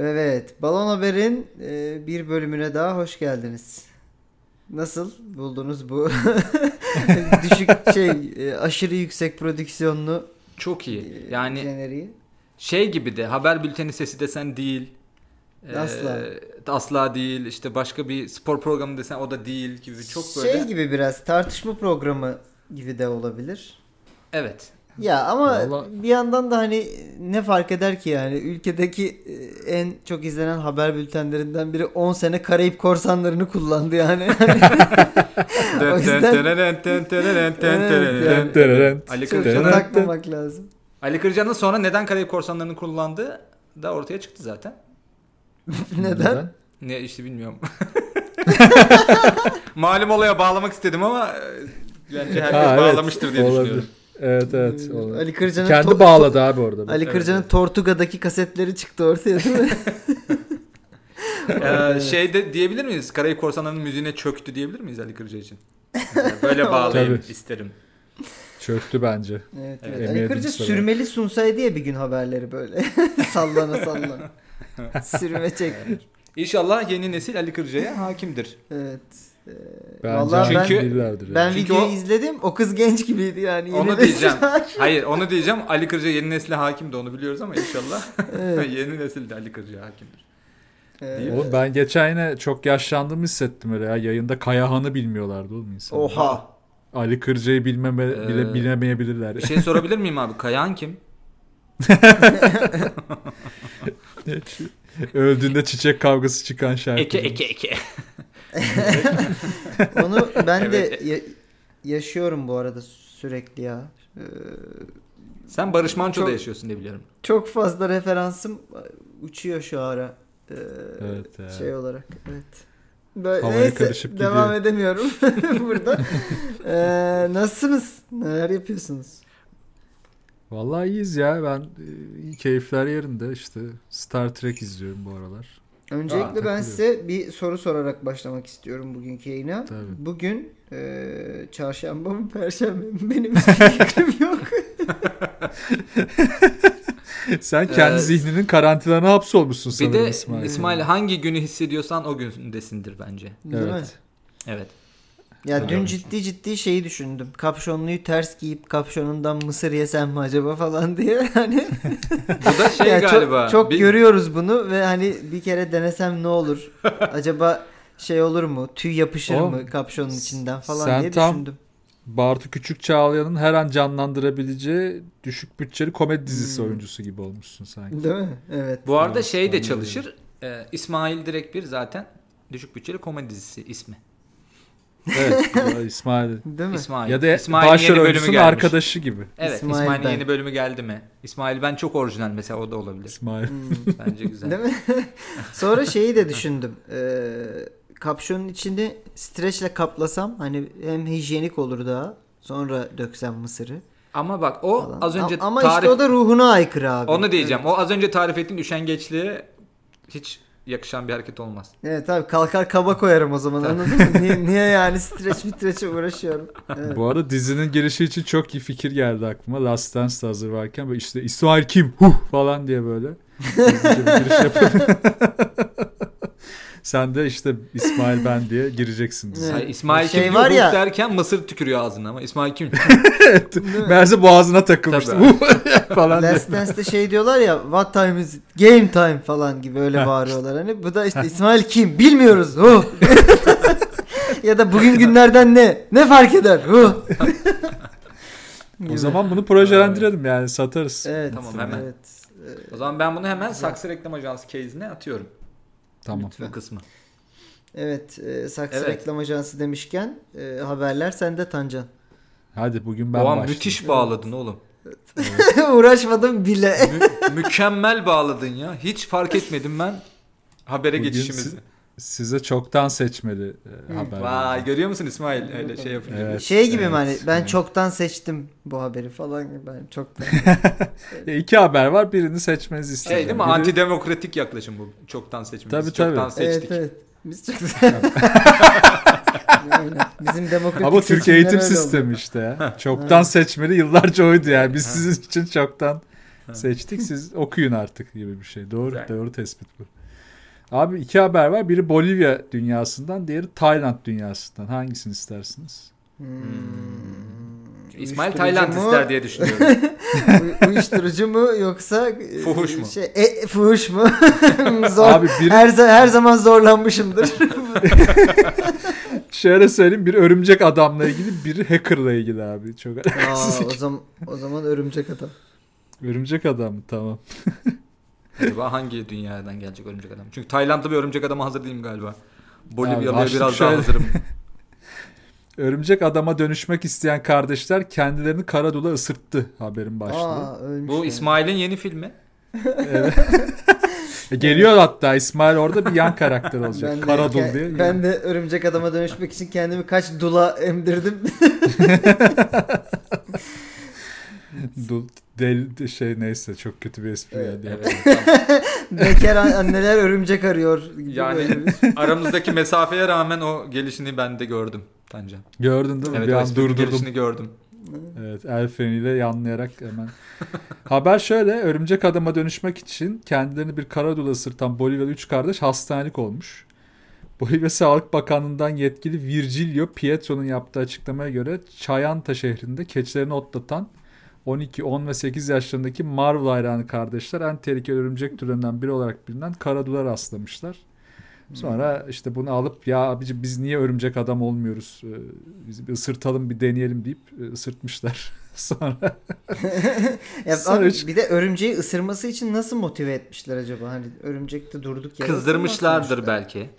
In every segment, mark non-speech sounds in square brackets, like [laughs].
Evet, Balon Haber'in e, bir bölümüne daha hoş geldiniz. Nasıl buldunuz bu [laughs] düşük şey e, aşırı yüksek prodüksiyonlu Çok e, iyi. Yani jeneriği? şey gibi de haber bülteni sesi desen değil. Ee, Asla. asla değil. İşte başka bir spor programı desen o da değil gibi. Çok böyle. Şey gibi biraz tartışma programı gibi de olabilir. Evet. Ya ama Vallahi- bir yandan da hani ne fark eder ki yani ülkedeki e, en çok izlenen haber bültenlerinden biri 10 sene Karayip Korsanlarını kullandı yani. [laughs] [laughs] Hani O yüzden- Evet yani. Ali çok da Kırcan- Kırcan'ın takmamak lazım. Ali Kırcan'ın sonra neden Karayip Korsanları'nı kullandığı da ortaya çıktı zaten. Neden? Ne [laughs] işte bilmiyorum. Malum olaya bağlamak istedim ama e, bence herkes Ha, evet. bağlamıştır diye Olabilir. düşünüyorum. Evet evet. Ee, olabilir. Ali Kırcan'ın Kendi to- bağladı abi orada. Ali Evet, Kırcan'ın evet. Tortuga'daki kasetleri çıktı ortaya değil [laughs] mi? Ee, şey de diyebilir miyiz? Karayip Korsanları'nın müziğine çöktü diyebilir miyiz Ali Kırca için? Mesela Böyle bağlayayım Tabii. isterim. Çöktü bence. evet, evet. Evet. Ali Emniyet Kırca Ünsal. sürmeli sunsaydı ya bir gün haberleri böyle. [laughs] sallana sallana. Sürme çek. İnşallah yeni nesil Ali Kırca'ya hakimdir. Evet. Ee, Bence Vallahi ben- Çünkü- bilirlerdir yani. Ben Çünkü videoyu o- izledim. O kız genç gibiydi yani. Yeni Onu nesil- diyeceğim. Hayır onu diyeceğim. Ali Kırca yeni nesile hakim de onu biliyoruz ama inşallah [laughs] Evet. yeni nesil de Ali Kırca'ya hakimdir. Ee, Oğlum ben geçen yine çok yaşlandığımı hissettim öyle ya. Yayında Kayahan'ı bilmiyorlardı oğlum insanlar. Oha. Ali Kırca'yı bilmeme, Ee, bile bilemeyebilirler. [laughs] Bir şey sorabilir miyim abi? Kayan kim? Öldüğünde çiçek kavgası çıkan şarkı. Eke eke eke. Onu ben de Evet. ya- yaşıyorum bu arada sürekli ya. Ee, Sen Barış Manço'da Çok- yaşıyorsun diye biliyorum. çok fazla referansım e, uçuyor şu ara. Ee, Evet ya. Şey olarak. Evet. Böyle, Havaya neyse karışıp devam [laughs] edemiyorum [laughs] burada. Ee, nasılsınız? Neler yapıyorsunuz? Vallahi iyiyiz ya ben e, iyi keyifler yerinde işte Star Trek izliyorum bu aralar. Öncelikle ben takılıyorum. size bir soru sorarak başlamak istiyorum bugünkü yayına. [laughs] Tabii. Bugün eee çarşamba mı perşembe mi benim hiçbir fikrim yok. Sen kendi Ee, zihninin karantinana hapsolmuşsun Bir sanırım de İsmail. İsmail. hangi günü hissediyorsan o gündesindir bence. Değil mi? Evet. Evet. Ya dün Evet. ciddi ciddi şeyi düşündüm. Kapşonluyu ters giyip kapşonundan mısır yesem mi acaba falan diye. [laughs] Hani [laughs] Bu da şey ya çok- galiba. çok, bir- görüyoruz bunu ve hani bir kere denesem ne [laughs] olur? acaba şey olur mu? Tüy yapışır Oğlum, mı kapşonun içinden falan sen diye tam- düşündüm. Bartu Küçük Çağlayan'ın her an canlandırabileceği düşük bütçeli komedi dizisi Hmm. oyuncusu gibi olmuşsun sanki. Değil mi? Evet. Bu arada Evet, şey de ben de çalışır. Ee, İsmail direkt bir zaten düşük bütçeli komedi dizisi ismi. Evet bu da İsmail. Değil mi? İsmail. ya da İsmail'in başrol yeni oyuncusunun gelmiş. arkadaşı gibi. Evet, İsmail İsmail'in ben. yeni bölümü geldi mi? İsmail ben çok orijinal mesela o da olabilir. İsmail. Hmm. Bence güzel. Değil mi? [laughs] Sonra şeyi [laughs] de düşündüm. Ee, kapşonun içini streçle kaplasam hani hem hijyenik olur daha. Sonra döksem mısırı. Ama bak o falan. az önce A- ama tarif işte o da ruhuna aykırı abi. onu diyeceğim. O az önce tarif ettiğin üşengeçliğe hiç yakışan bir hareket olmaz. Evet abi kalkar kaba koyarım o zaman anladın [laughs] mı? Niye, niye yani streç mitreçe uğraşıyorum? Evet. Bu arada dizinin girişi için çok iyi fikir geldi aklıma. Last Dance'da hazır varken böyle işte İsmail kim? Huh falan diye böyle. hızlıca bir giriş yapalım. [laughs] Sen de işte İsmail ben diye gireceksin diziye. Evet. Hayır, İsmail Şey kim var var ya- derken mısır tükürüyor ağzına ama İsmail [laughs] kim? Meğerse boğazına takılmıştı. Tabii. Huh! falan diye. Last Dance'de şey diyorlar ya what time is it? Game time falan gibi öyle bağırıyorlar hani. Bu da işte İsmail kim? Bilmiyoruz. [laughs] Huh! ya da bugün günlerden ne? Ne fark eder? Huh! O zaman bunu projelendirelim yani satarız. Evet. Tamam, hemen. Evet. Ee, o zaman ben bunu hemen saksı reklam ajansı case'ine atıyorum Tamam. bu kısmı. Evet, e, saksı Evet. reklam ajansı demişken e, haberler sende Tancan. [laughs] Hadi bugün ben Oğan başlayayım. müthiş bağladın oğlum. Uğraşmadım bile. Mü- [laughs] mükemmel bağladın ya. Hiç fark etmedim ben habere Bugün geçişimizi. si- Size çoktan seçmeli e, haber. Vay vereceğim. görüyor musun İsmail öyle şey yapınca. Evet, şey gibi mi evet, hani ben evet. çoktan seçtim bu haberi falan gibi ben çoktan. E, iki haber var birini seçmenizi Şey istiyorum. değil mi? Biri- Antidemokratik yaklaşım bu. Çoktan seçmemiz. Tabii, Çoktan [laughs] tabii. seçtik. Evet evet. Biz çoktan. Aynen. Bizim demokratik Ama Türk seçimler eğitim öyle oldu. sistemi işte ya. Çoktan seçmeli yıllarca oydu yani. Biz sizin için çoktan [laughs] seçtik. Siz okuyun artık gibi bir şey. Doğru, Güzel. doğru tespit bu. Abi iki haber var. Biri Bolivya dünyasından, diğeri Tayland dünyasından. Hangisini istersiniz? Hmm. İsmail Hmm. Uyuşturucu Tayland mu? ister diye [laughs] düşünüyorum. Uy- Uyuşturucu mu yoksa e, Fuhuş mu? Şey, e, fuhuş [laughs] mu? Zor. Abi biri Her, za- her zaman [laughs] zorlanmışımdır. şöyle söyleyeyim. Biri örümcek adamla ilgili, biri hackerla ilgili abi. Çok [laughs] Aa, alakasız. o zaman o zaman örümcek adam. örümcek adam tamam. Acaba hangi dünyadan gelecek örümcek adam? Çünkü Tayland'da bir örümcek adama hazır değilim galiba. Abi Bolivyalı'ya başlık biraz şöyle. daha [laughs] hazırım. Örümcek adama dönüşmek isteyen kardeşler kendilerini Karadul'a ısırttı haberin başlığı. Aa, ölmüş Bu yani. İsmail'in yeni filmi. [laughs] [laughs] Evet. E, Geliyor hatta İsmail orada bir yan karakter olacak. Karadul ke- diye. Ben de örümcek adama dönüşmek için kendimi kaç dula emdirdim. Du- Del şey neyse çok kötü bir espri geldi. Evet. [laughs] Bekar an- anneler örümcek arıyor. gibi Yani- [laughs] böyle bir- Aramızdaki mesafeye rağmen o gelişini ben de gördüm Tancan. Gördün değil mi? Evet, bir o an espri durdurdum. gelişini gördüm. Evet, el freniyle yanlayarak hemen. Haber şöyle, örümcek adama dönüşmek için kendilerini bir karadula sırtan Bolivyalı üç kardeş hastanelik olmuş. Bolivya Sağlık Bakanlığı'ndan yetkili Virgilio Pietro'nun yaptığı açıklamaya göre Çayanta şehrinde keçilerini otlatan 12, 10 ve 8 yaşlarındaki Marvel hayranı kardeşler en tehlikeli örümcek türlerinden biri olarak bilinen karadula rastlamışlar. Sonra Hmm. işte bunu alıp ya abici biz niye örümcek adam olmuyoruz? Ee, Biz bir ısırtalım bir deneyelim deyip e, ısırtmışlar. [laughs] Sonra Ya Sonra abi üç- bir de örümceği ısırması için nasıl motive etmişler acaba? Hani örümcekte durduk yere Kızdırmışlardır ısırmaz belki.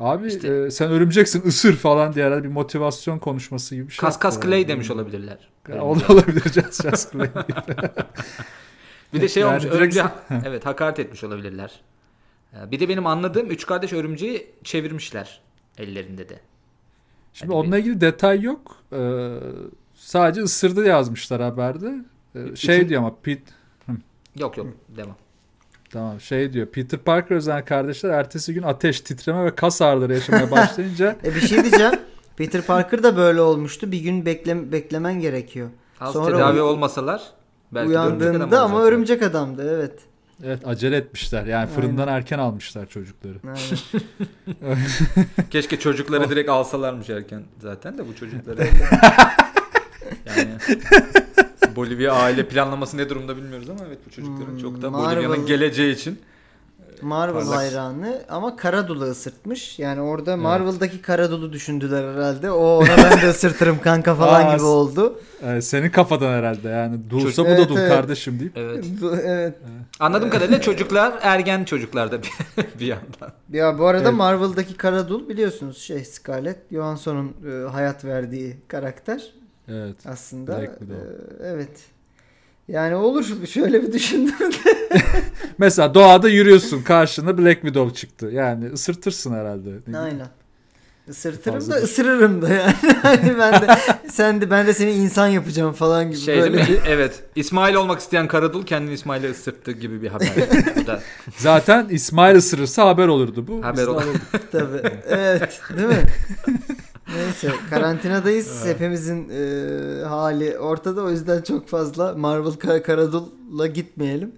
abi İşte- e, sen örümceksin ısır falan diye herhalde bir motivasyon konuşması gibi bir şey. Kas kas yaptılar. Clay demiş olabilirler. Ya, o da olabilir Just- Just Clay. [laughs] Bir de şey Yani olmuş. direkt- örümceğe- [laughs] evet hakaret etmiş olabilirler. Ee, Bir de benim anladığım üç kardeş örümceği çevirmişler ellerinde de. Şimdi Hadi onunla ilgili detay yok. Ee, sadece ısırdı yazmışlar haberde. Ee, şey İçin- diyor ama Pit Yok yok devam. Tamam şey diyor. Peter Parker özen kardeşler ertesi gün ateş, titreme ve kas ağrıları yaşamaya başlayınca E bir şey diyeceğim. [laughs] Peter Parker da böyle olmuştu. Bir gün bekle, beklemen gerekiyor. Az Sonra tedavi uy- olmasalar belki de örümcek adam Uyandığında ama olacaklar. örümcek adamdı evet. evet acele etmişler. Yani fırından erken almışlar çocukları. [laughs] Aynen. [laughs] Keşke Oh. çocukları direkt alsalarmış erken zaten de bu [laughs] çocukları. yani Bolivya aile planlaması ne durumda bilmiyoruz ama evet bu çocukların Hmm, çok da Marvel. Bolivya'nın geleceği için Marvel Parlak. hayranı ama Karadul'u ısırtmış. Yani orada Marvel'daki Karadul'u düşündüler herhalde. O ona ben de ısırtırım kanka Aa, falan gibi oldu. Ee, senin kafadan herhalde yani. Dulsa Çocuk- bu da dul Evet, evet. kardeşim deyip. [laughs] evet. Bu- evet. Anladığım kadarıyla çocuklar ergen çocuklar da bir, [laughs] bir yandan. Ya bu arada Evet. Marvel'daki Karadul biliyorsunuz şey Scarlett Johansson'un e, hayat verdiği karakter Evet. aslında. Black Widow. E, evet. Yani olur şöyle bir [laughs] düşündüm. Mesela doğada yürüyorsun karşına Black Widow çıktı. Yani ısırtırsın herhalde. Ne bileyim. Aynen. Isırtırım Fazla da düşün. ısırırım da yani. [laughs] Hani ben de sen de ben de seni insan yapacağım falan gibi Şey böyle. değil mi? Evet. İsmail olmak isteyen Karadul kendini İsmail'e ısırttı gibi bir haber. bu da Zaten İsmail ısırırsa haber olurdu bu. Haber Biz de olur. [laughs] [laughs] alırdık. Tabii. Evet. Değil mi? Neyse karantinadayız. Hepimizin e, hali ortada. O yüzden çok fazla Marvel Kar- Karadul'la gitmeyelim.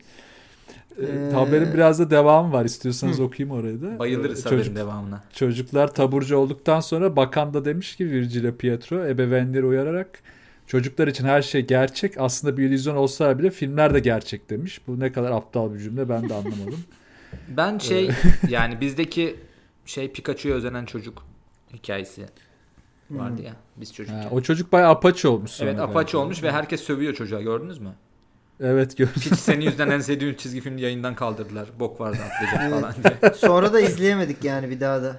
Ee, Ee, Haberin biraz da devamı var. İstiyorsanız okuyayım orayı da. bayılırız Ee, haberin devamına. Çocuklar taburcu olduktan sonra bakan da demiş ki Virgilio Pietro ebeveynleri uyararak çocuklar için her şey gerçek aslında bir illüzyon olsa bile filmler de gerçek demiş. Bu ne kadar aptal bir cümle ben [laughs] de anlamadım. Ben şey yani bizdeki şey Pikachu'ya özenen çocuk hikayesi vardı ya. Biz çocuk. Hmm. Ha, o çocuk bayağı apaçı olmuş sonra. Evet galiba. apaçı olmuş ve herkes sövüyor çocuğa gördünüz [laughs] mü? [laughs] Evet gördüm. Piç senin yüzünden en sevdiğin çizgi filmi yayından kaldırdılar. Bok vardı atlayacak Evet. falan diye. Sonra da izleyemedik yani bir daha da.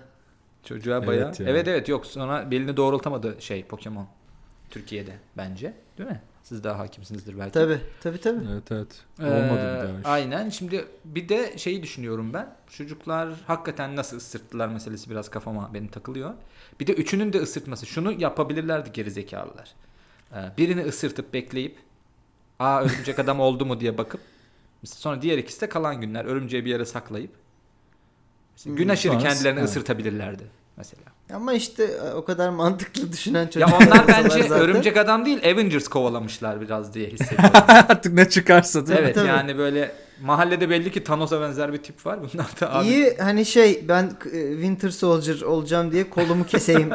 Çocuğa Evet bayağı. Evet, ya. evet yok sonra belini doğrultamadı şey Pokemon. Türkiye'de bence değil mi? Siz daha hakimsinizdir belki. Tabii. Tabii tabii. Evet evet. Ee, Olmadı bir daha. iş. Aynen. Şimdi bir de şeyi düşünüyorum ben. Çocuklar hakikaten nasıl ısırttılar meselesi biraz kafama benim takılıyor. Bir de üçünün de ısırtması. Şunu yapabilirlerdi gerizekalılar. Ee, birini ısırtıp bekleyip aa örümcek adam oldu mu diye bakıp sonra diğer ikisi de kalan günler örümceği bir yere saklayıp mesela gün aşırı Hmm, sonra- kendilerini evet. ısırtabilirlerdi. mesela. Ama işte e, o kadar mantıklı düşünen [laughs] Ya çocuklar. onlar olsalar bence zaten. örümcek adam değil Avengers kovalamışlar biraz diye hissediyorum. [laughs] Artık ne çıkarsa değil mi? evet Tabii. yani böyle mahallede belli ki Thanos'a benzer bir tip var. [laughs] Bunlar da abi. İyi hani şey ben e, Winter Soldier olacağım diye kolumu [laughs] keseyim.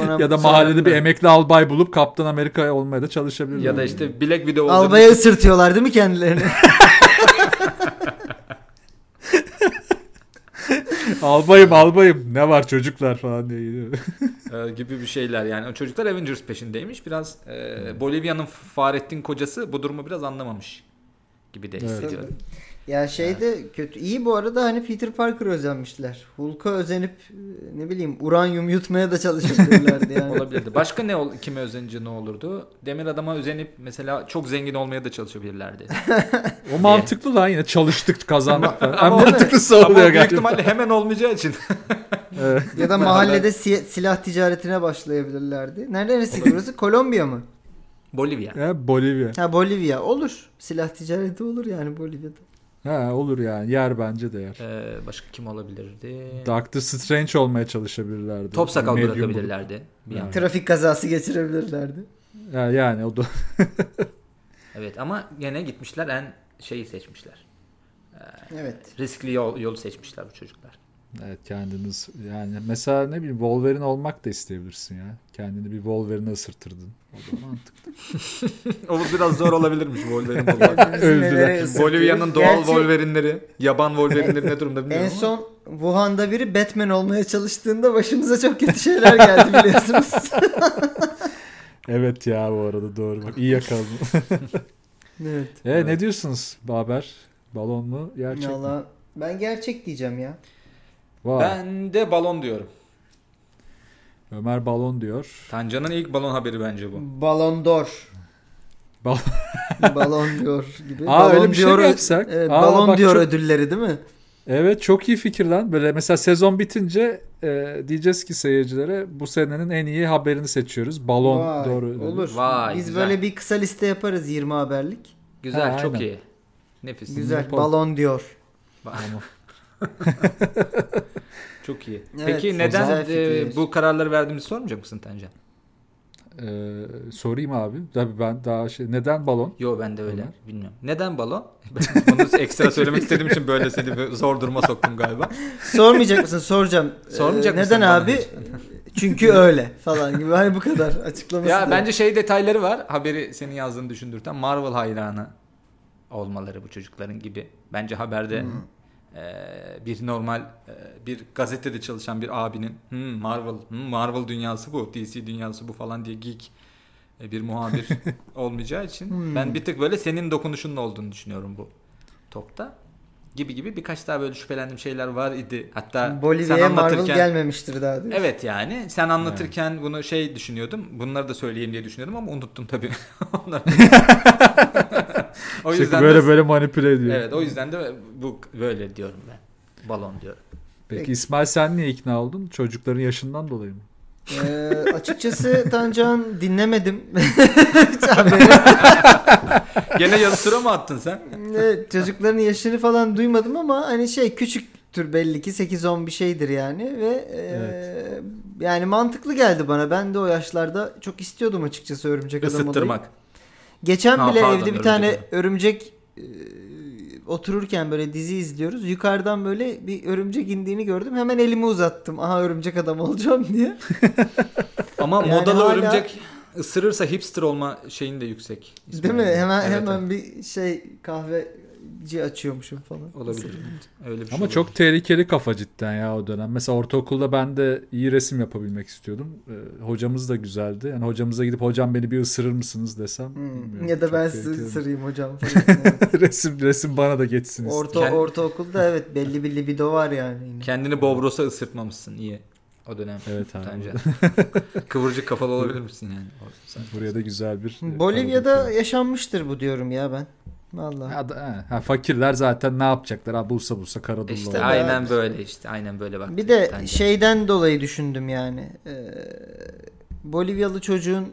Ona Ya da sonra- mahallede bir emekli albay bulup Kaptan Amerika olmaya da çalışabilir. Ya da işte Black Widow olacak. Albaya ısırtıyorlar değil mi kendilerini? [laughs] [laughs] albayım albayım ne var çocuklar falan diye [laughs] geliyor. e, gibi bir şeyler yani. O çocuklar Avengers peşindeymiş. Biraz e, Bolivya'nın Fahrettin kocası bu durumu biraz anlamamış gibi de Evet. hissediyorum. Ya şey de kötü. İyi bu arada hani Peter Parker özenmişler. Hulk'a özenip e, ne bileyim uranyum yutmaya da çalışabilirlerdi [laughs] yani. Olabilirdi. Başka ne ol, kime özenince ne olurdu? Demir adama özenip mesela çok zengin olmaya da çalışabilirlerdi. O mantıklı lan yine çalıştık kazandık falan. En ama- mantıklısı Ama o oluyor büyük galiba. ihtimalle hemen olmayacağı için. Evet. ya da mahallede si- silah ticaretine başlayabilirlerdi. Nerede neresi burası? Kolombiya mı? Bolivya. Ya Bolivya. Ha Bolivya. Olur. Silah ticareti olur yani Bolivya'da. Ha olur yani yer bence de yer. E, başka kim olabilirdi? Doctor Strange olmaya çalışabilirlerdi. Top sakal Medium bırakabilirlerdi. Bir Yani. an. Trafik kazası geçirebilirlerdi. bulup. Ya, yani o da Evet ama gene gitmişler en şeyi seçmişler. [laughs] Evet. Riskli yol, yolu seçmişler bu [laughs] çocuklar. evet kendiniz yani mesela ne bileyim Wolverine olmak da isteyebilirsin ya. Kendini bir Wolverine ısırtırdın. O da mantıklı. o biraz zor olabilirmiş Wolverine olmak. Bizi Öldüler. nelere ısırtıyor. Bolivya'nın [laughs] doğal Gerçi Wolverine'leri, yaban Wolverine'leri ne durumda bilmiyorum En ama. son Wuhan'da biri Batman olmaya çalıştığında başımıza çok kötü şeyler [laughs] geldi biliyorsunuz. [laughs] Evet ya bu arada doğru bak iyi yakaladın. evet. [laughs] e, Evet. Ne diyorsunuz Baber? Balon mu gerçek mi? Valla ben gerçek diyeceğim ya. Vay, Ben de balon diyorum. Ömer balon diyor. Tancan'ın ilk balon haberi bence bu. Balon d'Or. Bal- [laughs] balon diyor gibi. Aa, balon öyle bir şey mi yapsak? Evet, Aa, balon bak diyor çok- ödülleri değil mi? Evet çok iyi fikir lan. Böyle mesela sezon bitince e, diyeceğiz ki seyircilere bu senenin en iyi haberini seçiyoruz. Balon Vay, doğru. ödülü. Olur. Vay, Biz güzel. böyle bir kısa liste yaparız 20 haberlik. Güzel, Ha, çok aynen. iyi. Nefis. Güzel. yapalım. Balon diyor. Tamam. [laughs] Çok iyi. Evet, Peki güzel neden fikir. e, bu kararları verdiğimizi sormayacak mısın Tancan? E, sorayım abi. Tabii ben daha şey neden balon? Yo ben de öyle. Ömer? Bilmiyorum. Neden balon? [laughs] Ben bunu ekstra söylemek istediğim için böyle seni bir zor duruma soktum galiba. Sormayacak mısın? Soracağım. [laughs] Ee, Sormayacak mısın Neden bana? abi? Çünkü öyle falan gibi. Hani bu kadar açıklaması ya da- bence şey detayları var. Haberi senin yazdığını düşündürten Marvel hayranı olmaları bu çocukların gibi. Bence haberde Hmm. e, bir normal e, bir gazetede çalışan bir abinin "Hmm, Marvel hmm, Marvel dünyası bu, DC dünyası bu falan diye geek e, [laughs] bir muhabir olmayacağı için Hmm. ben bir tık böyle senin dokunuşunun olduğunu düşünüyorum bu topta. Gibi gibi birkaç daha böyle şüphelendiğim şeyler var idi. Hatta Bolivya'ya sen Marvel anlatırken gelmemiştir daha diyor. Evet yani sen anlatırken bunu şey düşünüyordum. Bunları da söyleyeyim diye düşünüyordum ama unuttum tabii. [laughs] Onları. o [laughs] Çünkü yüzden böyle de, böyle manipüle ediyor. Evet o yüzden de bu böyle diyorum ben. Balon [laughs] diyorum. Peki İsmail sen niye ikna oldun? Çocukların yaşından dolayı mı? Ee, açıkçası Tancan dinlemedim. [laughs] Hiç haberi. Gene yazı mı attın sen? Evet, çocukların yaşını falan duymadım ama hani şey küçüktür belli ki 8-10 bir şeydir yani ve e, Evet. yani mantıklı geldi bana. Ben de o yaşlarda çok istiyordum açıkçası örümcek adam olayı. Isıttırmak. Geçen Ha, bile pardon, evde bir örümcek tane adam. örümcek e, otururken böyle dizi izliyoruz. Yukarıdan böyle bir örümcek indiğini gördüm. Hemen elimi uzattım. Aha örümcek adam olacağım [laughs] diye. Ama Yani modalı hala- örümcek ısırırsa hipster olma şeyin de yüksek. Değil mi? Hemen Hmm, Evet, hemen evet. bir şey kahveci açıyormuşum falan. olabilir. Öyle bir şey Ama olabilir. çok tehlikeli kafa cidden ya o dönem. Mesela ortaokulda ben de iyi resim yapabilmek istiyordum. Ee, hocamız da güzeldi. Yani hocamıza gidip hocam beni bir ısırır mısınız desem. [laughs] Hmm. bilmiyorum. Ya da Çok ben tehlikeli. sizi sırayım [laughs] hocam. falan. Evet. resim resim bana da geçsin. istedim. Orta Kend- ortaokulda evet belli bir libido var yani. Yine. Kendini Bobros'a ısırtmamışsın iyi. O dönem. Evet abi. [laughs] Bence. Kıvırcık kafalı olabilir misin yani? O- sen- Buraya da güzel bir e, Bolivya'da paragraf. yaşanmıştır bu diyorum ya ben. Vallahi. Ya da- ha, ha, fakirler zaten ne yapacaklar? Ha, bulsa bulsa karadulla. İşte olur. Vallahi- aynen böyle işte aynen böyle bak. Bir de şey- Bence. şeyden dolayı düşündüm yani. Ee, Bolivyalı çocuğun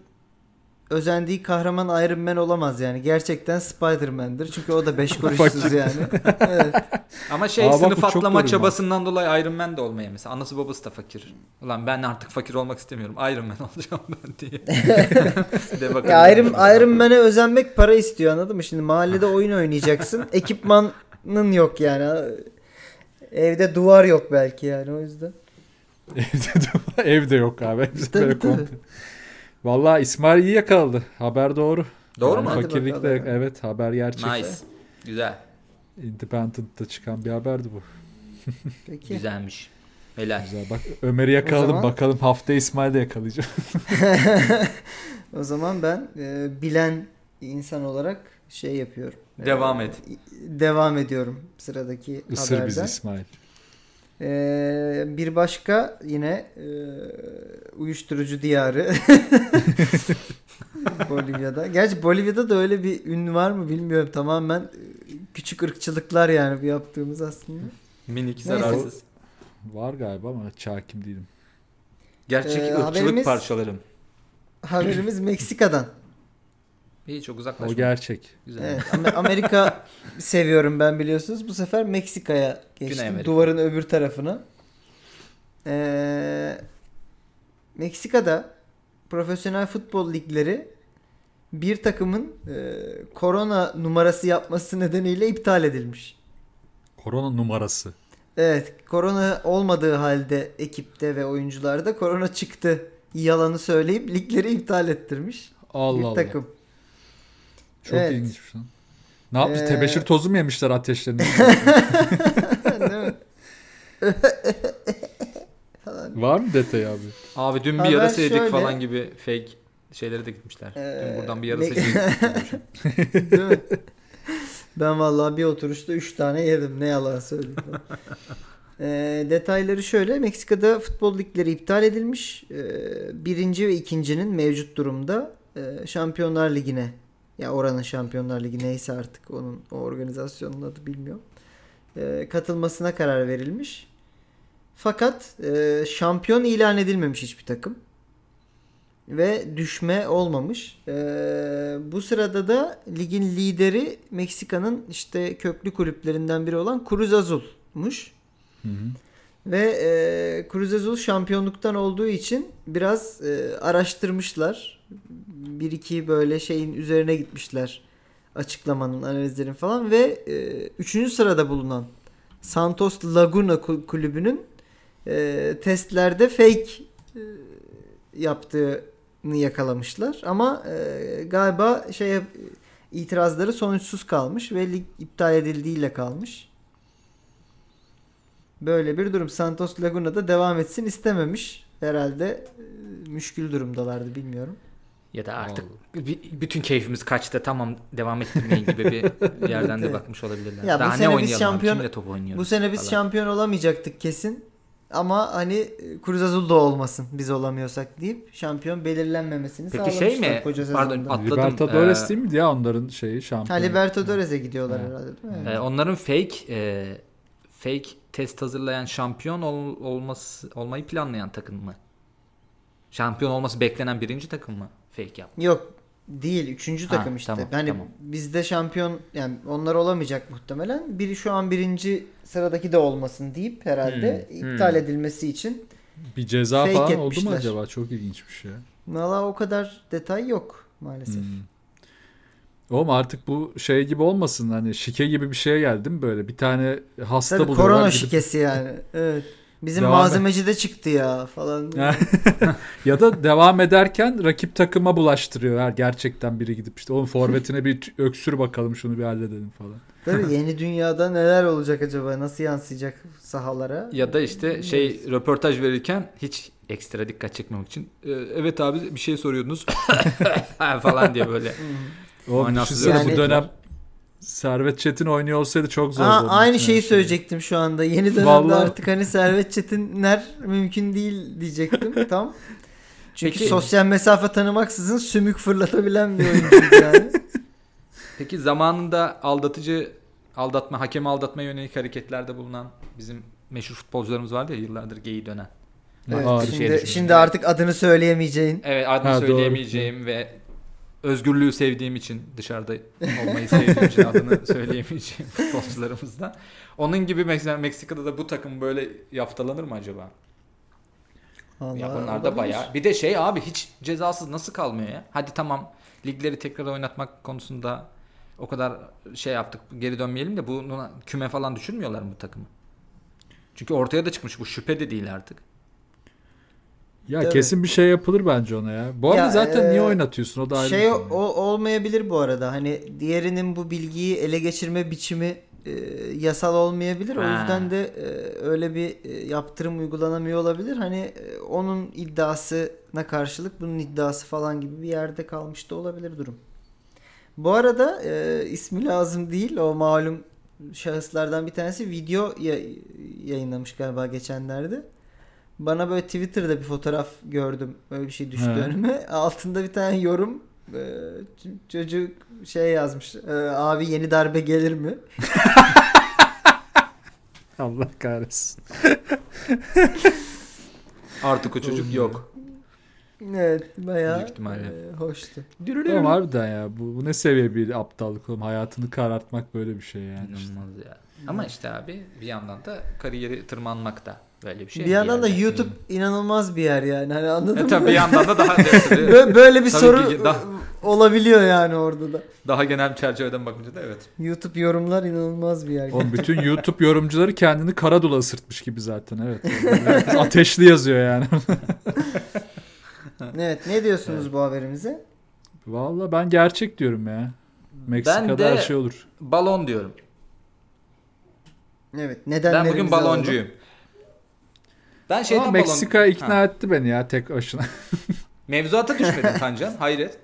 özendiği kahraman Iron Man olamaz yani. Gerçekten Spider-Man'dir. Çünkü o da beş kuruşsuz yani. Evet. Ama şey Aa, bak bu sınıf çok atlama doğru çabasından dolayı Iron Man de olmaya mesela. Anası babası da fakir. Ulan ben artık fakir olmak istemiyorum. Iron Man [laughs] olacağım ben [laughs] diye. de bakalım. Ya Iron, Iron Man'e özenmek para istiyor anladın mı? Şimdi mahallede oyun oynayacaksın. Ekipmanın yok yani. Evde duvar yok belki yani o yüzden. [laughs] Evde, de- evde yok abi. Biz Tabii, böyle tabii. komple- Vallahi İsmail iyi yakaladı. Haber doğru. Doğru Yani mu? Hadi Fakirlikle bakalım. evet haber gerçek. Nice. Güzel. Independent'ta çıkan bir haberdi bu. Peki. Güzelmiş. Helal. Güzel bak Ömer'i yakaladım. zaman- Bakalım hafta İsmail'i [laughs] de yakalayacağım. o zaman ben e, bilen insan olarak şey yapıyorum. Devam et. Devam ediyorum sıradaki Isır bizi haberden. İsmail. Ee, bir başka yine e, uyuşturucu [laughs] diyarı Bolivya'da. Gerçi Bolivya'da da öyle bir ün var mı bilmiyorum. Tamamen e, küçük ırkçılıklar yani bu yaptığımız aslında. Minik Neyse. zararsız. Var galiba ama çakim değilim. Gerçek Ee, ırkçılık haberimiz- parçalarım. Haberimiz Meksika'dan. İyi çok O uzaklaşma. gerçek. Güzel. Evet, Amer- Amerika seviyorum ben biliyorsunuz. Bu sefer Meksika'ya geçtim. Güney Amerika. Duvarın öbür tarafına. Ee, Meksika'da profesyonel futbol ligleri bir takımın e, korona numarası yapması nedeniyle iptal edilmiş. Korona numarası. Evet, korona olmadığı halde ekipte ve oyuncularda korona çıktı yalanı söyleyip ligleri iptal ettirmiş Allah bir Allah. takım. Çok Evet. ilginç lan. Ne yapmış? Ee, Tebeşir tozu mu [laughs] yemişler ateşlerini? Değil mi? Var mı detay abi? Abi dün bir Haber yarası yedik şöyle. falan gibi fake şeylere de gitmişler. Ee, dün buradan bir yarası Mek- [laughs] yedik. Değil mi? Ben vallahi bir oturuşta 3 tane yedim. Ne yalan söyleyeyim. Ee, detayları şöyle. Meksika'da futbol ligleri iptal edilmiş. Ee, birinci ve ikincinin mevcut durumda e, Şampiyonlar Ligi'ne ya oranın Şampiyonlar Ligi neyse artık onun o organizasyonun adı bilmiyorum. Ee, katılmasına karar verilmiş. Fakat e, şampiyon ilan edilmemiş hiçbir takım. Ve düşme olmamış. Ee, bu sırada da ligin lideri Meksika'nın işte köklü kulüplerinden biri olan Cruz Azul'muş. Hı-hı. Ve e, Cruz Azul şampiyonluktan olduğu için biraz e, araştırmışlar. Bir iki böyle şeyin üzerine gitmişler. Açıklamanın, analizlerin falan. Ve e, üçüncü sırada bulunan Santos Laguna kul- kulübünün e, testlerde fake e, yaptığını yakalamışlar. Ama e, galiba şey e, itirazları sonuçsuz kalmış ve lig iptal edildiğiyle kalmış. Böyle bir durum. Santos Laguna'da devam etsin istememiş. Herhalde e, müşkül durumdalardı bilmiyorum. Ya da artık bi- bütün keyfimiz kaçtı tamam devam ettirmeyin gibi [laughs] bir yerden de bakmış olabilirler. Ya bu Daha sene ne biz oynayalım şampiyon- abi kimle top oynuyoruz. Bu sene biz falan. şampiyon olamayacaktık kesin. Ama hani e, Cruz Azul da olmasın biz olamıyorsak deyip şampiyon belirlenmemesini Peki sağlamışlar şey mi? koca sezonda. Pardon atladım. Libertadores Ee, değil miydi ya onların şeyi Ha, şampiyonu? Libertadores'e gidiyorlar herhalde değil mi? Ee, onların fake e, fake test hazırlayan şampiyon ol- olması olmayı planlayan takım mı? Şampiyon olması beklenen birinci takım mı? Fake yap. Yok değil. Üçüncü Ha, takım işte. tamam, hani tamam. bizde şampiyon yani onlar olamayacak muhtemelen. Biri şu an birinci sıradaki de olmasın deyip herhalde iptal edilmesi için. Bir ceza Fake falan oldu mu etmişler. acaba? Çok şey. ilginçmiş ya. Valla o kadar detay yok maalesef. Hmm. Oğlum artık bu şey gibi olmasın hani şike gibi bir şeye geldim böyle bir tane hasta Tabii buluyorlar. korona gidip- şikesi yani. Evet. Bizim Devam et. malzemeci de çıktı ya falan. [laughs] ya da devam ederken rakip takıma bulaştırıyor. Her gerçekten biri gidip işte oğlum forvetine bir t- öksür bakalım şunu bir halledelim falan. Tabii yeni dünyada neler olacak acaba? Nasıl yansıyacak sahalara? Ya da işte şey röportaj verirken hiç ekstra dikkat çekmemek için "Ee, evet abi bir şey soruyordunuz [laughs] falan diye böyle. Oğlum Manasız düşünsene yani- bu dönem Servet Çetin oynuyor olsaydı çok zor. Aa, olurdu. aynı Yani şeyi şey- söyleyecektim şu anda. Yeni dönemde Vallahi- artık hani Servet Çetinler mümkün değil [laughs] diyecektim tam. Çünkü Peki- sosyal mesafe tanımaksızın sümük fırlatabilen bir oyuncuydu yani. Peki zamanında aldatıcı aldatma, hakemi aldatma yönelik hareketlerde bulunan bizim meşhur futbolcularımız vardı ya yıllardır geyi dönen. Evet, Ağır bir şey şimdi, düşündüm. şimdi artık adını söyleyemeyeceğin. Evet adını Ha, doğru. söyleyemeyeceğim ve özgürlüğü sevdiğim için dışarıda olmayı sevdiğim için [laughs] adını söyleyemeyeceğim futbolcularımızdan. Onun gibi mesela Meksika'da da bu takım böyle yaftalanır mı acaba? Vallahi ya bunlar olabilir. da bayağı. Bir de şey abi hiç cezasız nasıl kalmıyor ya? Hadi tamam ligleri tekrar oynatmak konusunda o kadar şey yaptık geri dönmeyelim de bunu küme falan düşünmüyorlar mı bu takımı? Çünkü ortaya da çıkmış bu şüphe de değil artık. Ya Tabii. kesin bir şey yapılır bence ona ya. Bu arada Ya, zaten niye e, oynatıyorsun o da ayrı. Şey bir o, konu. o- olmayabilir bu arada. Hani diğerinin bu bilgiyi ele geçirme biçimi e, yasal olmayabilir. O Ha. yüzden de e, öyle bir e, yaptırım uygulanamıyor olabilir. Hani e, onun iddiasına karşılık bunun iddiası falan gibi bir yerde kalmış da olabilir durum. Bu arada e, ismi lazım değil. O malum şahıslardan bir tanesi video ya- yayınlamış galiba geçenlerde. Bana böyle Twitter'da bir fotoğraf gördüm. Böyle bir şey düştü He. önüme. [laughs] Altında bir tane yorum. Ee, ç- çocuk şey yazmış. Ee, abi yeni darbe gelir mi? [laughs] Allah kahretsin. Artık o çocuk yok. Evet bayağı Büyük ihtimalle. e, hoştu. Oğlum harbiden ya bu, bu ne seviye bir aptallık oğlum. Hayatını karartmak böyle bir şey yani. işte. İnanılmaz ya. Ama işte abi bir yandan da kariyeri tırmanmak da böyle bir şey. bir yandan da yerde. YouTube inanılmaz bir yer yani. Hani anladın E mı? tabii bir yandan da daha Bö- böyle bir Tabii soru ki daha- e, olabiliyor yani orada da. daha genel çerçeveden bakınca da evet. YouTube yorumlar inanılmaz bir yer. Oğlum bütün YouTube yorumcuları kendini Karadul'a ısırtmış gibi zaten [laughs] evet. Ateşli yazıyor yani. [laughs] evet ne diyorsunuz bu haberimize? Valla ben gerçek diyorum ya. Meksika'da Ben de- her şey olur. Balon diyorum. Evet Ben nedenlerimizi bugün alalım. baloncuyum. Ben şeyden Ama balon... Meksika ikna şey Ha. etti beni ya tek başına. [laughs] Mevzuata düşmedin Tancan. Hayret.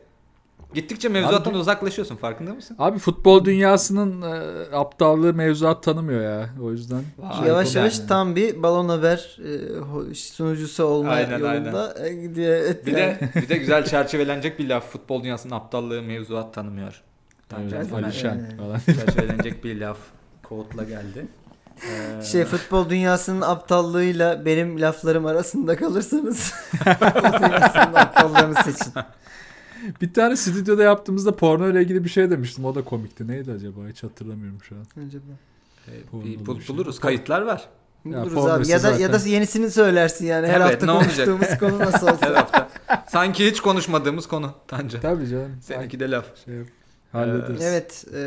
Gittikçe mevzuattan uzaklaşıyorsun farkında mısın? Abi futbol dünyasının e, aptallığı mevzuat tanımıyor ya. O yüzden. şey Vay. Yavaş Harika. yavaş tam bir balon haber e, ho- sunucusu olma Aynen, yolunda e, gidiyor. Evet, Bir [laughs] yani. de bir de güzel çerçevelenecek bir laf. Futbol dünyasının aptallığı mevzuat tanımıyor. Tancan Evet, Soner. Alişan falan. [laughs] çerçevelenecek bir laf. Kovutla geldi. Ee, şey futbol dünyasının aptallığıyla benim laflarım arasında kalırsanız [laughs] futbol dünyasının aptallarını seçin. Bir tane stüdyoda yaptığımızda porno ile ilgili bir şey demiştim. O da komikti. Neydi acaba? Hiç hatırlamıyorum şu an. Acaba. e, bir Porno bul- şey. buluruz. Kayıtlar var. Ya, Buluruz pornosu abi. Ya da, ya da zaten. yenisini söylersin yani her Evet, hafta ne olacak? konuştuğumuz konu [laughs] nasıl Her olsa. hafta. Sanki hiç konuşmadığımız konu Tancan. Tabii canım. Seninki de laf. Şey yap- [laughs] hallederiz. evet. E,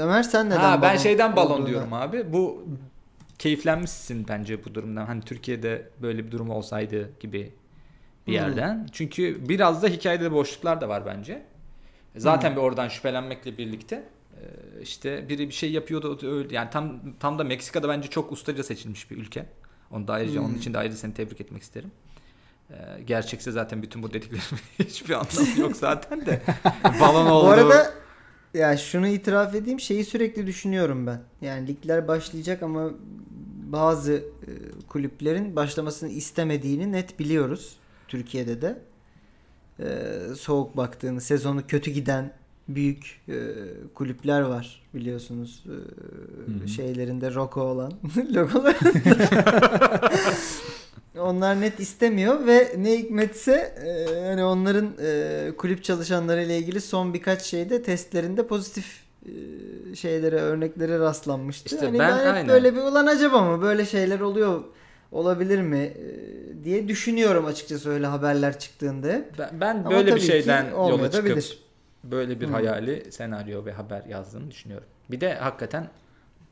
Ömer sen neden Ha, ben balon şeyden balon olduğuna- diyorum abi. Bu keyiflenmişsin bence bu durumdan. Hani Türkiye'de böyle bir durum olsaydı gibi bir Hmm. yerden. Çünkü biraz da hikayede boşluklar da var bence. E, Zaten Hmm. bir oradan şüphelenmekle birlikte e, işte biri bir şey yapıyordu o da öyle. Yani tam tam da Meksika'da bence çok ustaca seçilmiş bir ülke. Onu da ayrıca Hmm. onun için de ayrıca seni tebrik etmek isterim. E, gerçekse zaten bütün bu dediklerimin [laughs] hiçbir anlamı yok zaten de. Balon oldu. Bu arada ya şunu itiraf edeyim şeyi sürekli düşünüyorum ben. Yani ligler başlayacak ama bazı e, kulüplerin başlamasını istemediğini net biliyoruz. Türkiye'de de E, soğuk baktığını, sezonu kötü giden büyük e, kulüpler var biliyorsunuz. E, hı. şeylerinde roko olan [laughs] logolar. Onlar net istemiyor ve ne hikmetse e, hani onların e, kulüp çalışanları ile ilgili son birkaç şeyde testlerinde pozitif e, şeylere örneklere rastlanmıştı. İşte hani ben ben, hep aynen. böyle bir ulan acaba mı böyle şeyler oluyor olabilir mi e, diye düşünüyorum açıkçası öyle haberler çıktığında hep. Ben, ben Ama böyle bir tabii ki şeyden yola çıkıp olmayabilir. böyle bir Hı. hayali senaryo ve haber yazdığını düşünüyorum. Bir de hakikaten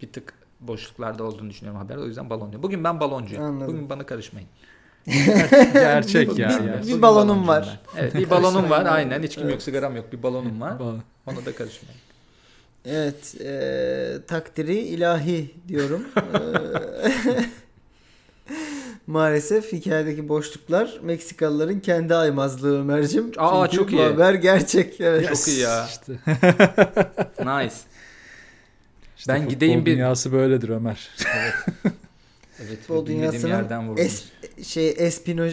bir tık boşluklarda olduğunu düşünüyorum haber. O yüzden balon diyor. Bugün ben baloncuyum. Anladım. Bugün bana karışmayın. Gerçek ya. Bir- gerçek. bir- balonum baloncuyum var. ben. Evet, bir balonum [laughs] var. Karışmayın. Aynen. Hiçkim Evet. yok, sigaram yok. Bir balonum var. Bal- Ona da karışmayın. Evet e, takdiri ilahi diyorum. [laughs] E, [laughs] Maalesef hikayedeki boşluklar Meksikalıların kendi aymazlığı Ömer'cim. Aa, Çünkü çok iyi. bu haber gerçek. Evet. Çok iyi ya. İşte, Nice. işte Ben futbol gideyim bir- dünyası [laughs] böyledir Ömer. Evet. Futbol bilmediğim dünyasının yerden vurdum. Es, şey Espino...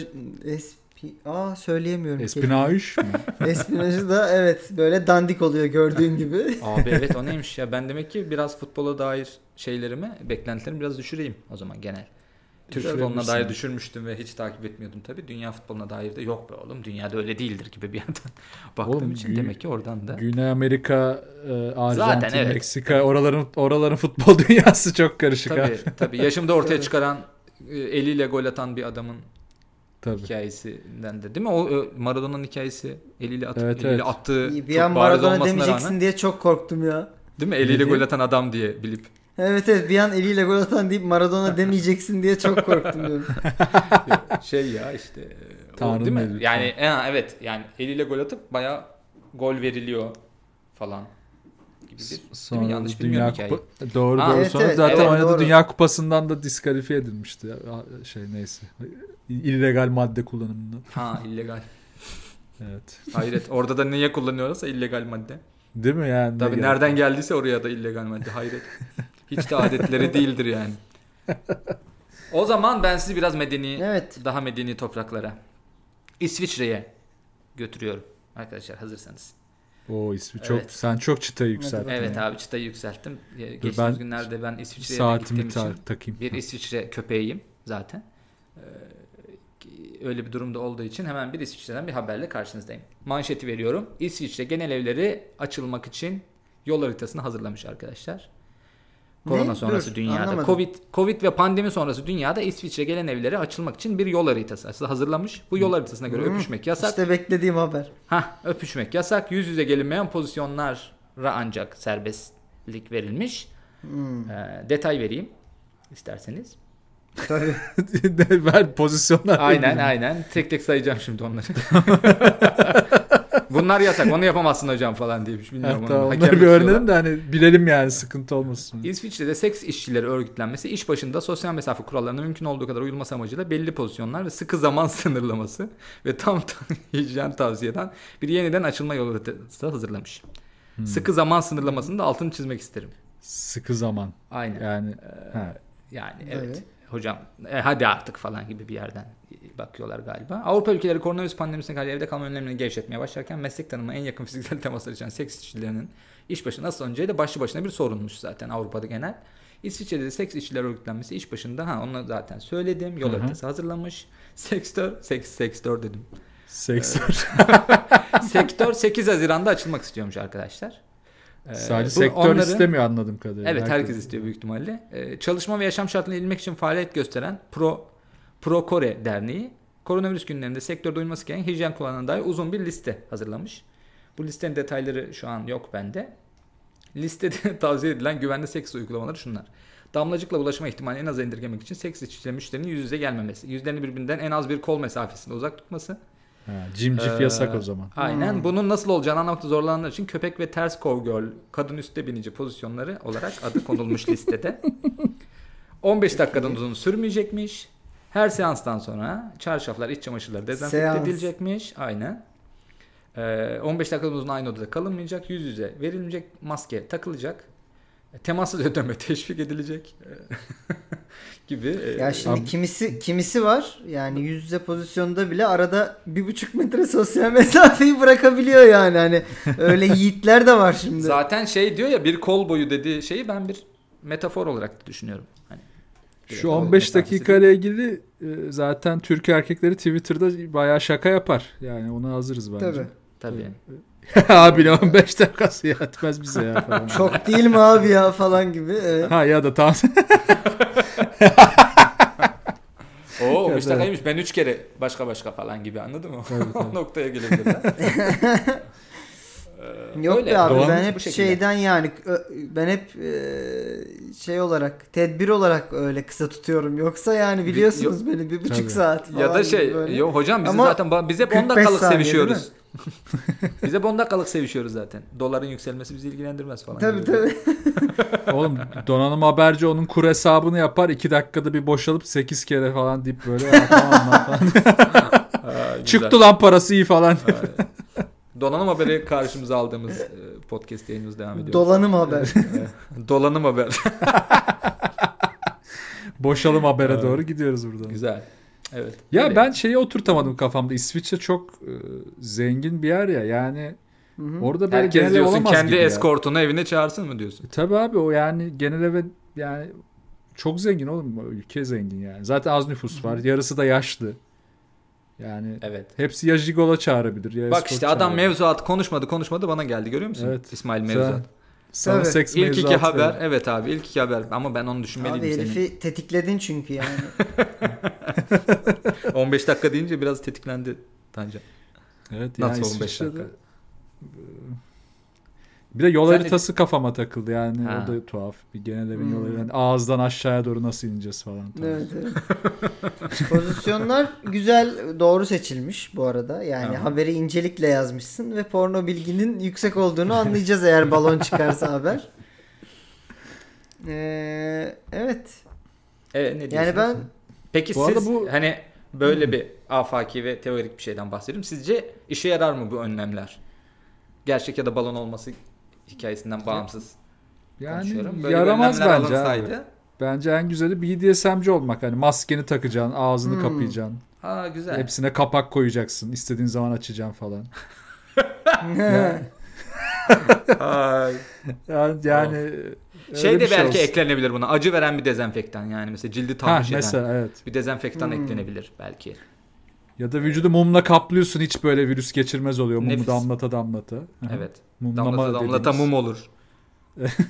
Espi, aa söyleyemiyorum. [laughs] kelimeyi. Espinauş [laughs] mu? Espinacı da evet böyle dandik oluyor gördüğün gibi. Abi evet o neymiş ya. Ben demek ki biraz futbola dair şeylerimi, beklentilerimi biraz düşüreyim o zaman genel. Türk Tabii. futboluna Görmüşsün. dair düşünmüştüm ve hiç takip etmiyordum tabii. Dünya futboluna dair de yok be oğlum. Dünyada öyle değildir gibi bir yandan [laughs] baktığım Oğlum, için gü- demek ki oradan da. Güney Amerika, e, Arjantin, Zaten evet. Meksika oraların oraların futbol [laughs] dünyası çok karışık ha. Tabii tabii yaşımda ortaya Evet. çıkaran e, eliyle gol atan bir adamın Tabii. hikayesinden de değil mi? O e, Maradona'nın hikayesi eliyle atıp Evet, eliyle evet. attığı İyi, Bir [laughs] çok an bariz Maradona olmasına demeyeceksin rağmen diye çok korktum ya. değil mi? Eliyle Ne diyor? gol atan adam diye bilip Evet evet bir an eliyle gol atan deyip Maradona demeyeceksin diye çok korktum [laughs] diyorum. şey ya işte e, o Tanrı'nın değil mi? eli. Yani e, evet yani eliyle gol atıp bayağı gol veriliyor falan gibi bir Sonra Yanlış Dünya bilmiyorum Kupa... Doğru Aa, doğru. evet, Sonra evet, zaten evet, oynadı doğru. Dünya Kupası'ndan da diskalifiye edilmişti. Ya. Aa, Şey neyse. İllegal madde kullanımında. [laughs] ha illegal. Evet. Hayret orada da niye kullanıyorlarsa illegal madde. Değil mi yani? Tabii Ne nereden geldiyse oraya da illegal madde hayret. Hiç de [laughs] adetleri değildir yani. O zaman ben sizi biraz medeni Evet. daha medeni topraklara İsviçre'ye götürüyorum arkadaşlar hazırsanız. O ismi çok Evet. sen çok çıtayı yükselttin. Evet ya. abi çıtayı yükselttim. Ee, Geçtiğimiz ben günlerde ben İsviçre'ye gittiğim Saatimi için ta- takayım. bir İsviçre köpeğiyim zaten. Ee, öyle bir durumda olduğu için hemen bir İsviçre'den bir haberle karşınızdayım. Manşeti veriyorum. İsviçre genel evleri açılmak için yol haritasını hazırlamış arkadaşlar. Korona Ne? sonrası Dur, dünyada. anlamadım. Covid Covid ve pandemi sonrası dünyada İsviçre gelen evlere açılmak için bir yol haritası aslında hazırlamış. Bu yol haritasına göre Hı. öpüşmek yasak. İşte beklediğim haber. Ha öpüşmek yasak. Yüz yüze gelinmeyen pozisyonlara ancak serbestlik verilmiş. Hmm. Ee, detay vereyim isterseniz. Tabii. Ne, [laughs] Ver pozisyonlar. Aynen aynen. Tek tek sayacağım şimdi onları. [laughs] Bunlar yasak. Onu yapamazsın hocam falan diye Ha, bilmiyorum. tamam, onu. Hakem onları bir yapıyorlar. öğrenelim de hani bilelim yani sıkıntı olmasın. İsviçre'de seks işçileri örgütlenmesi iş başında sosyal mesafe kurallarına mümkün olduğu kadar uyulması amacıyla belli pozisyonlar ve sıkı zaman [laughs] sınırlaması ve tam [laughs] tam hijyen tavsiyeden bir yeniden açılma yolu haritası hazırlamış. Hmm. Sıkı zaman sınırlamasının da altını çizmek isterim. Sıkı zaman. Aynen. Yani Ee, ha. Yani evet. Evet. Hocam e, hadi artık falan gibi bir yerden e, bakıyorlar galiba. Avrupa ülkeleri koronavirüs pandemisine karşı evde kalma önlemlerini gevşetmeye başlarken meslek tanımına en yakın fiziksel temaslar için seks işçilerinin iş başına nasıl önceyi de başlı başına bir sorunmuş zaten Avrupa'da genel. İsviçre'de de seks işçiler örgütlenmesi iş başında ha onu zaten söyledim. Yol Hı hı. haritası hazırlamış. Sektör, seks, sektör dedim. sektör. sektör 8 Haziran'da açılmak istiyormuş arkadaşlar. Ee, Sadece bu sektör onların- istemiyor anladığım kadarıyla. Evet herkes istiyor büyük ihtimalle. Ee, çalışma ve yaşam şartlarına ilmek için faaliyet gösteren Pro Pro Kore Derneği koronavirüs günlerinde sektörde uyulması gereken hijyen kurallarına dair uzun bir liste hazırlamış. Bu listenin detayları şu an yok bende. Listede [laughs] tavsiye edilen güvenli seks uygulamaları şunlar. Damlacıkla ulaşma ihtimalini en az indirgemek için seks işçileri müşterinin yüz yüze gelmemesi. Yüzlerini birbirinden en az bir kol mesafesinde uzak tutması. Ha, cimcif Ee, yasak o zaman. Aynen. Hmm. Bunun nasıl olacağını anlamakta zorlananlar için köpek ve ters cowgirl kadın üstte binici pozisyonları olarak adı konulmuş listede. [laughs] 15 dakikadan uzun sürmeyecekmiş. Her seanstan sonra çarşaflar, iç çamaşırları dezenfekte Seans. edilecekmiş. Aynen. Ee, 15 dakikadan uzun aynı odada kalınmayacak. Yüz yüze verilmeyecek. Maske takılacak. Temassız ödeme [laughs] teşvik edilecek. e, [laughs] gibi. e, Ya şimdi Abi- kimisi kimisi var yani yüz yüze pozisyonda bile arada bir buçuk metre sosyal [laughs] mesafeyi bırakabiliyor yani hani [laughs] öyle yiğitler de var şimdi. Zaten şey diyor ya bir kol boyu dediği şeyi ben bir metafor olarak düşünüyorum. Hani Şu direkt 15 mesafesi dakika ile ilgili e, zaten Türk erkekleri Twitter'da bayağı şaka yapar. Yani ona hazırız bence. Tabii. Tabii. [laughs] [laughs] Abi 15 dakikası yetmez bize ya falan. Çok değil mi abi ya falan gibi. Ee, Evet. Ha ya da tam Oo Ya 15 da- dakikaymış ben 3 kere başka başka falan gibi anladın mı? [laughs] Tabii, o noktaya gelebilirler. [laughs] Ee, Yok öyle. be abi Doğan- ben hep şey Bu şekilde. şeyden yani ö- ben hep e, şey olarak tedbir olarak öyle kısa tutuyorum. Yoksa yani biliyorsunuz beni bir buçuk Tabii. saat falan ya da gibi şey böyle. yo hocam biz Ama zaten ba- biz hep 10 45 dakikalık saniye, sevişiyoruz. [laughs] biz hep 10 dakikalık sevişiyoruz zaten. Doların yükselmesi bizi ilgilendirmez falan. Tabii gibi. tabii. Oğlum donanım haberci onun kur hesabını yapar. 2 dakikada bir boşalıp 8 kere falan deyip böyle "Aa, tamam lan" [laughs] falan. Aa, güzel. Çıktı lan parası iyi falan. [laughs] Aa, Donanım haberi karşımıza aldığımız e, podcast yayınımız devam ediyor. Dolanım haber. Dolanım haber. [laughs] Boşalım habere Evet. doğru gidiyoruz buradan. Güzel. Evet. Ya Öyle. ben şeyi oturtamadım kafamda. İsviçre çok e, zengin bir yer ya. Yani Hı hı. orada böyle herkes genel ev diyorsun olamaz kendi gibi ya. eskortunu evine çağırsın mı diyorsun? E, Tabii abi o yani genel eve yani Çok zengin oğlum. Ülke zengin yani. Zaten az nüfus var. Yarısı da yaşlı. Yani Evet. hepsi ya Jigola çağırabilir ya Bak escort işte adam çağırabilir. mevzuat konuşmadı konuşmadı bana geldi görüyor musun? Evet. İsmail Sen- mevzuat. Sana Evet. seks İlk iki mevzuatı haber. verin. Evet abi ilk iki haber. Ama ben onu düşünmeliydim Abi senin. herifi tetikledin çünkü yani. 15 dakika deyince biraz tetiklendi Tancan. Evet Nasıl yani 15 İsviçre'de- dakika? Bir de yol Sen de- haritası kafama takıldı yani Ha. o da tuhaf. Bir genel evin Hmm. yol haritası. Yani ağızdan aşağıya doğru nasıl ineceğiz falan. tarzı. evet, evet. Pozisyonlar güzel, doğru seçilmiş bu arada. Yani Tamam. haberi incelikle yazmışsın ve porno bilginin yüksek olduğunu anlayacağız eğer balon çıkarsa haber. Ee, evet. Evet E, ne Yani diyorsunuz? ben Peki Bu arada siz bu- hani böyle bir afaki ve teorik bir şeyden bahsediyorum. Sizce işe yarar mı bu önlemler? Gerçek ya da balon olması hikayesinden bağımsız konuşuyorum. Yani Böyle yaramaz önlemler bence. abi. alınsaydı. Bence en güzeli BDSM'ci olmak. Hani maskeni takacaksın, ağzını Hmm. kapayacaksın. Aa güzel. Hepsine kapak koyacaksın. istediğin zaman açacaksın falan. Ay. Yani, yani öyle şey bir de belki olsun. eklenebilir buna. Acı veren bir dezenfektan yani mesela cildi Ha, tahriş eden. mesela evet. Bir dezenfektan Hmm. eklenebilir belki. Ya da vücudu mumla kaplıyorsun hiç böyle virüs geçirmez oluyor. Mumu Nefis. damlata damlata. Hı hı. Evet. Mumlama Damlata damlata dediğimiz. mum [laughs] olur.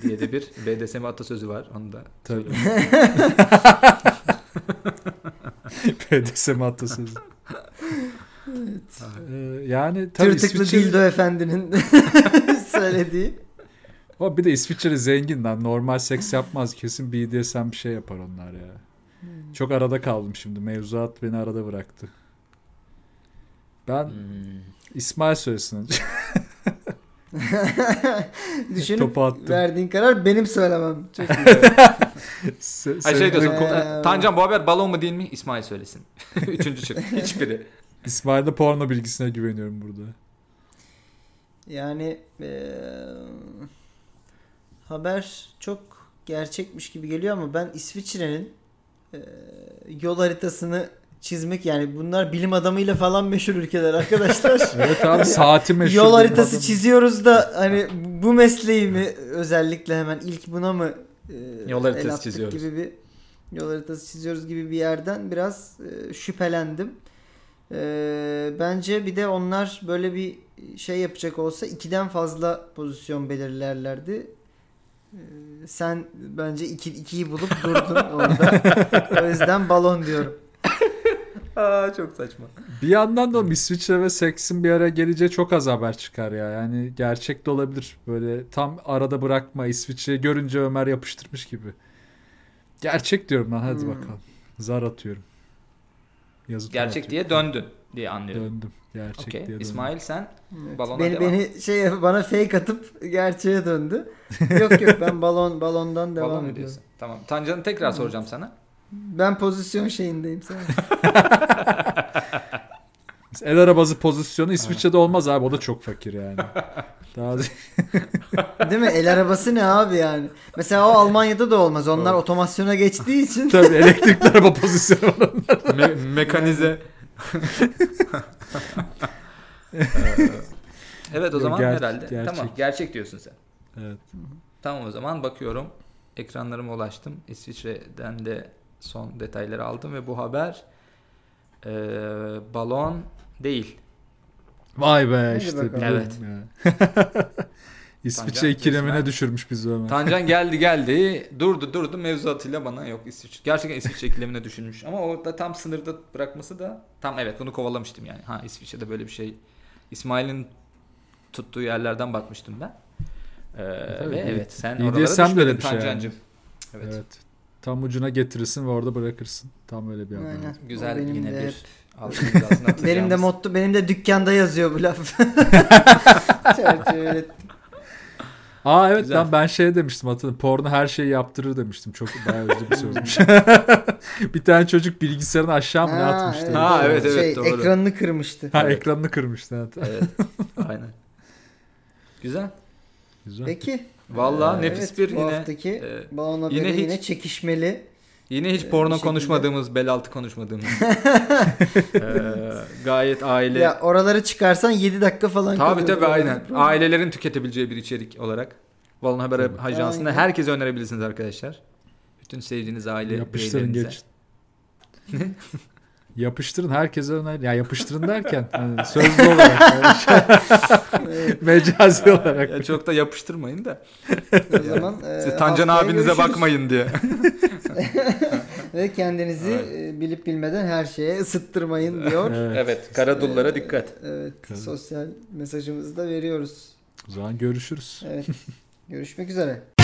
diye de bir BDSM atasözü var. Onu da [laughs] Tabii. söyleyeyim. PDSM atasözü. Ee, yani tabii Tırtıklı İsviçre, Dildo Efendi'nin [laughs] söylediği. O bir de İsviçre zengin lan. Normal seks yapmaz. Kesin BDSM bir şey yapar onlar ya. Hmm. Çok arada kaldım şimdi. Mevzuat beni arada bıraktı. Ben Hmm. İsmail söylesin. önce. Düşünüp Topu attım. verdiğin karar benim söylemem. Çok iyi. [laughs] Se- Ay senin- şey diyorsun. Ee, ko- Tancan bu haber balon mu değil mi? İsmail söylesin. [laughs] [laughs] Üçüncü şık. Hiçbiri. İsmail'de porno bilgisine güveniyorum burada. Yani eee, haber çok gerçekmiş gibi geliyor ama ben İsviçre'nin eee, yol haritasını çizmek yani bunlar bilim adamıyla falan meşhur ülkeler [laughs] arkadaşlar. [laughs] Evet abi saati meşhur. yol bir haritası adam. çiziyoruz da hani bu mesleği mi özellikle hemen ilk buna mı eee, Yol haritası el attık çiziyoruz. gibi bir yol haritası çiziyoruz gibi bir yerden biraz eee, şüphelendim. Eee, bence bir de onlar böyle bir şey yapacak olsa ikiden fazla pozisyon belirlerlerdi. Eee, sen bence iki, ikiyi bulup durdun orada. o yüzden balon diyorum. Aa çok saçma. Bir yandan da oğlum İsviçre ve seksin bir araya geleceği çok az haber çıkar ya. Yani gerçek de olabilir. Böyle tam arada bırakma İsviçre'yi görünce Ömer yapıştırmış gibi. Gerçek diyorum lan hadi Hmm. bakalım. Zar atıyorum. Yazı tura Gerçek atıyorum. diye döndün diye anlıyorum. döndüm. Gerçek Okey. diye döndüm. İsmail sen Evet, Balona beni, devam. beni şey bana fake atıp gerçeğe döndü. yok yok ben balon balondan devam balon mu ediyorum. diyorsun? Tamam. Tancan'ı tekrar soracağım sana. Ben pozisyon şeyindeyim sen. El arabası pozisyonu İsviçre'de olmaz abi. O da çok fakir yani. Daha [laughs] Değil mi? El arabası ne abi yani? Mesela o Almanya'da da olmaz. Onlar Doğru. otomasyona geçtiği için. [laughs] tabii elektrikli araba pozisyonu. mekanize. Ee, evet o Yok, zaman ger- herhalde. gerçek. Tamam gerçek diyorsun sen. evet. Tamam o zaman bakıyorum. Ekranlarıma ulaştım. İsviçre'den de son detayları aldım ve bu haber e, balon değil. Vay be Hadi işte. bakalım. biliyorum Evet. ya. [laughs] İsviçre Tancan, ikilemine İsmail. düşürmüş bizi Ömer. Tancan geldi geldi durdu durdu mevzuatıyla bana yok İsviçre. Gerçekten İsviçre ikilemine düşünmüş ama o da tam sınırda bırakması da tam evet bunu kovalamıştım yani. Ha İsviçre'de böyle bir şey İsmail'in tuttuğu yerlerden bakmıştım ben. Ee, Tabii, ve iyi- evet sen iyi oralara diyesem de düşmedin öyle bir şey Tancancığım. Evet. Evet. Tam ucuna getirirsin ve orada bırakırsın. Tam öyle bir adam. Aynen. Güzel O benim yine de- bir altımız [laughs] aslında Benim de motto, benim de dükkanda yazıyor bu [laughs] laf. Çerçevelet. Aa evet Güzel. lan ben şey demiştim hatırladım. Porno her şeyi yaptırır demiştim. Çok bayağı [laughs] üzücü bir sözmüş. [laughs] bir tane çocuk bilgisayarını aşağı mı ne Ha, atmıştı? evet. Ha, evet, evet, Şey, doğru. Ekranını kırmıştı. Ha Evet. ekranını kırmıştı. Evet. Evet. Aynen. Güzel. Güzel. Peki. Vallahi Ee, nefis evet, bir bu yine. haftaki e, balon haberi yine yine, hiç- çekişmeli. Yine hiç Ee, porno bir şekilde- konuşmadığımız, bel altı konuşmadığımız. [laughs] Ee, gayet aile. Ya oraları çıkarsan 7 dakika falan tabii kalıyor. tabii aynen. Ailelerin tüketebileceği bir içerik olarak. Valon Haber Tabii. Ajansı'nda Aynen. herkese önerebilirsiniz arkadaşlar. Bütün sevdiğiniz aile Yapıştırın bireylerinize. geç. yapıştırın herkese öner. Ya yapıştırın derken hani sözlü olarak. yani [laughs] mecazi olarak. Ya çok da yapıştırmayın da. O zaman e, Siz Tancan haftaya abinize görüşürüz. bakmayın diye. Ve kendinizi Evet. e, bilip bilmeden her şeye ısıttırmayın diyor. [laughs] Evet. evet, Ee, Evet, Tabii. sosyal mesajımızı da veriyoruz. O zaman görüşürüz. [laughs] Evet. Görüşmek üzere.